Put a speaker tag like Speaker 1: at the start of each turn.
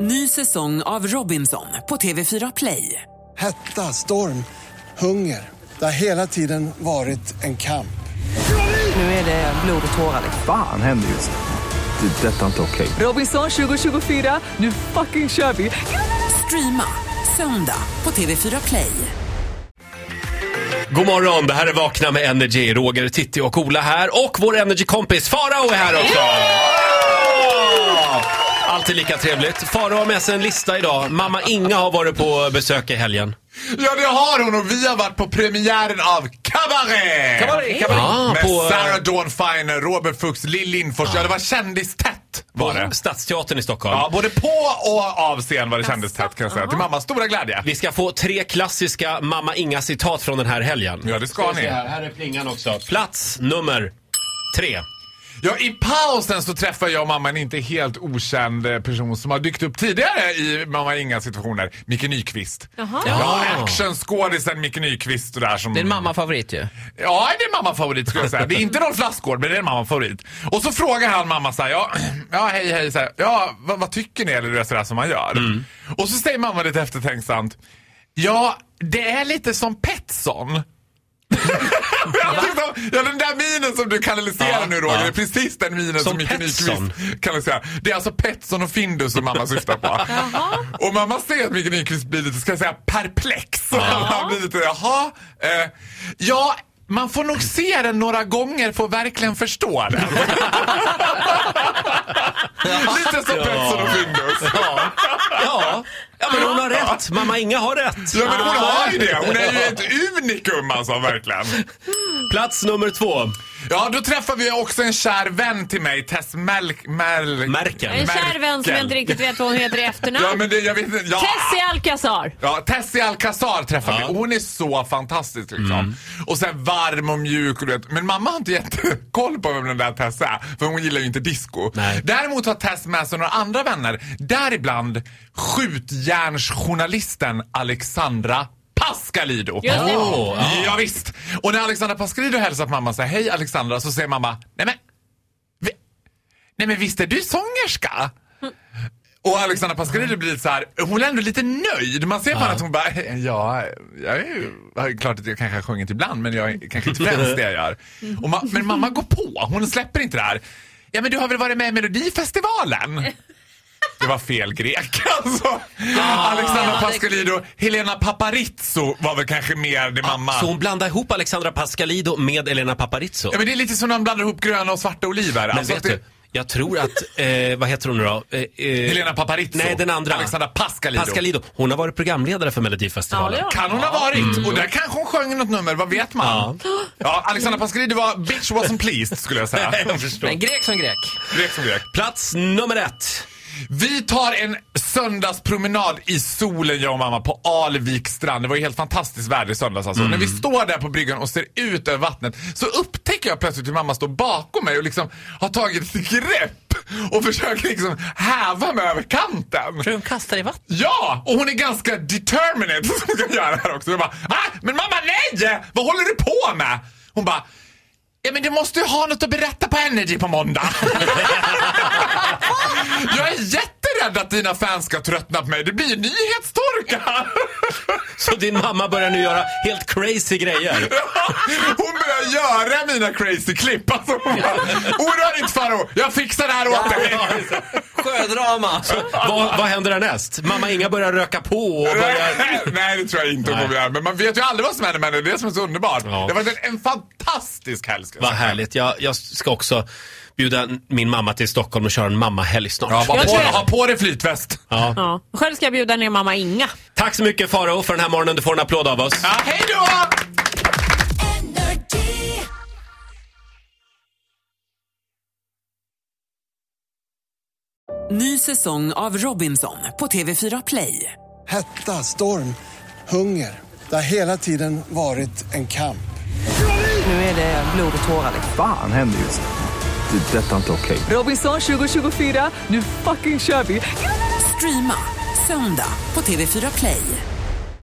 Speaker 1: Ny säsong av Robinson på TV4 Play.
Speaker 2: Hetta, storm, hunger. Det har hela tiden varit en kamp.
Speaker 1: Nu är det blod och tårar.
Speaker 3: Fan händer just nu. Det. är Detta är inte okej.
Speaker 1: Robinson 2024, nu fucking kör vi! Streama söndag på TV4 Play.
Speaker 4: God morgon, det här är Vakna med Energy. Roger, Titti och Ola här. Och vår Energy-kompis Farao är här också! Alltid lika trevligt. Farao har med sig en lista idag. Mamma Inga har varit på besök i helgen.
Speaker 5: Ja det har hon och vi har varit på premiären av Cabaret!
Speaker 4: Cabaret, Cabaret. Ja,
Speaker 5: Med
Speaker 4: på, eh,
Speaker 5: Sarah Dawn Finer, Robert Fuchs, Lill Lindfors. Ja det var kändistätt var det.
Speaker 4: På Stadsteatern i Stockholm.
Speaker 5: Ja, både på och av scen var det kändistätt kan jag säga. Till mammas stora glädje.
Speaker 4: Vi ska få tre klassiska Mamma Inga-citat från den här helgen.
Speaker 5: Ja det ska ni.
Speaker 4: här är plingan också. Plats nummer tre.
Speaker 5: Ja i pausen så träffar jag och mamma en inte helt okänd eh, person som har dykt upp tidigare i Mamma Inga situationer. Micke Nyqvist. Ja,
Speaker 4: Ja.
Speaker 5: actionskådisen Micke Nyqvist och där som...
Speaker 6: Det är en mammafavorit ju.
Speaker 5: Ja, det är mammafavorit skulle jag säga. Det är inte någon flaskgård, men det är en mammafavorit. Och så frågar han mamma så här, ja, ja hej hej, så här, ja, vad, vad tycker ni? Eller det är sådär som man gör.
Speaker 4: Mm.
Speaker 5: Och så säger mamma lite eftertänksamt, ja, det är lite som Petsson. Jag tyckte om- Ja, den där minen som du kanaliserar
Speaker 4: Ja,
Speaker 5: nu Roger,
Speaker 4: ja.
Speaker 5: det är precis den minen som,
Speaker 4: Som
Speaker 5: Micke
Speaker 4: Petson.
Speaker 5: Nyqvist kanaliserar. Det är alltså Petsson och Findus som mamma syftar på. och mamma ser att Micke Nyqvist blir lite, ska jag säga, perplex. Han blir lite, jaha. Eh, ja, man får nog se den några gånger för att verkligen förstå den. lite som Petsson och Findus.
Speaker 4: Ja. ja. Ja, men hon har rätt. Mamma Inga har rätt. Ah.
Speaker 5: Ja men hon har ju det. Hon är ju ett unikum alltså, verkligen.
Speaker 4: Plats nummer två.
Speaker 5: Ja, då träffar vi också en kär vän till mig, Tess Melk... Mel...
Speaker 4: Märken.
Speaker 7: En kär vän som jag inte riktigt vet vad hon heter i efternamn.
Speaker 5: Ja, men det, jag vet inte. Ja.
Speaker 7: Tessie Alcazar.
Speaker 5: Ja, Tessie Alcazar träffar
Speaker 4: Ja. Mm.
Speaker 5: vi. Hon är så fantastisk liksom. Och sen varm och mjuk och du vet. Men mamma har inte jättekoll på vem den där Tess är. För hon gillar ju inte disco.
Speaker 4: Nej.
Speaker 5: Däremot har Tess med sig några andra vänner. Däribland skjutjärnsjournalisten Alexandra Pascalido.
Speaker 7: Just det.
Speaker 4: Åh, ja.
Speaker 5: Ja, visst. Och när Alexandra Pascalido hälsar på mamma och säger hej Alexandra så säger mamma nej men, vi, nej men visst är du sångerska? Och Alexandra Pascalido blir lite så här, hon är ändå lite nöjd. Man ser på henne att hon bara, "Eh, ja, jag är ju, ja, det är klart att jag kanske har sjungit ibland men jag är kanske inte främst det jag gör. Och ma- men mamma går på, hon släpper inte det här. Ja men du har väl varit med i Melodifestivalen? Det var fel grek alltså. Alexandra Pascalido, Helena Paparizou var väl kanske mer det mamma.
Speaker 4: Så hon blandar ihop Alexandra Pascalido med Elena Paparizou.
Speaker 5: Ja, men det är lite som när man blandar ihop gröna och svarta oliver.
Speaker 4: Men
Speaker 5: Alltså
Speaker 4: vet
Speaker 5: att det-
Speaker 4: du, jag tror att, eh, vad heter hon nu då? Eh, eh,
Speaker 5: Helena Paparizou.
Speaker 4: Nej, den andra.
Speaker 5: Alexandra Pascalido.
Speaker 4: Pascalido. Hon har varit programledare för
Speaker 7: Ja,
Speaker 4: Melodifestivalen.
Speaker 7: det har
Speaker 5: Kan hon ha varit?
Speaker 4: Mm.
Speaker 5: Och där kanske hon sjöng något nummer, vad vet man? Ja, Alexandra Pascalido var bitch wasn't pleased skulle jag säga.
Speaker 4: jag förstår.
Speaker 6: Men grek som grek.
Speaker 5: Grek som grek.
Speaker 4: Plats nummer ett.
Speaker 5: Vi tar en söndagspromenad i solen jag och mamma på Alviks strand. Det var ju helt fantastiskt väder i söndags alltså. När vi står där på bryggan och ser ut över vattnet så upptäcker jag plötsligt hur mamma står bakom mig och liksom har tagit ett grepp och försöker liksom häva mig över kanten.
Speaker 6: Hon kastar i vatten.
Speaker 5: Ja! Och hon är ganska determined som hon ska göra här också. Jag bara, ah, men mamma nej! Vad håller du på med? Hon bara, ja men du måste ju ha något att berätta på Energy på måndag. jag är jätterädd att dina fans ska tröttna på mig. Det blir ju nyhetstorka.
Speaker 4: Så din mamma börjar nu göra helt crazy grejer.
Speaker 5: Hon börjar göra mina crazy klipp. Alltså, hon bara, Oroa dig inte Farao, jag fixar det här åt dig.
Speaker 6: Sjödrama.
Speaker 4: Vad, vad händer härnäst? Mamma Inga börjar röka på och börjar...
Speaker 5: Nej, nej, det tror jag inte hon
Speaker 4: Nej.
Speaker 5: kommer göra. Men man vet ju aldrig vad som händer med henne. Det är det som är så underbart.
Speaker 4: Ja.
Speaker 5: Det var en, en fantastisk helg. ska jag
Speaker 4: Vad
Speaker 5: säga.
Speaker 4: härligt. Jag, jag ska också bjuda min mamma till Stockholm och köra en mammahelg snart.
Speaker 5: Ja,
Speaker 7: Jag
Speaker 5: var på,
Speaker 7: tror jag-
Speaker 5: ha på dig flytväst.
Speaker 4: Ja.
Speaker 7: Ja. Själv ska jag bjuda ner mamma Inga.
Speaker 4: Tack så mycket Faro för den här morgonen. Du får en applåd av oss.
Speaker 5: Ja, hej då!
Speaker 1: Ny säsong av Robinson på TV4 Play.
Speaker 2: Hetta, storm, hunger. Det har hela tiden varit en kamp.
Speaker 1: Nu är det blod och tårar.
Speaker 3: Fan händer just nu. Det. är Detta är inte okej.
Speaker 1: Robinson 2024, nu fucking kör vi! Streama söndag på TV4 Play.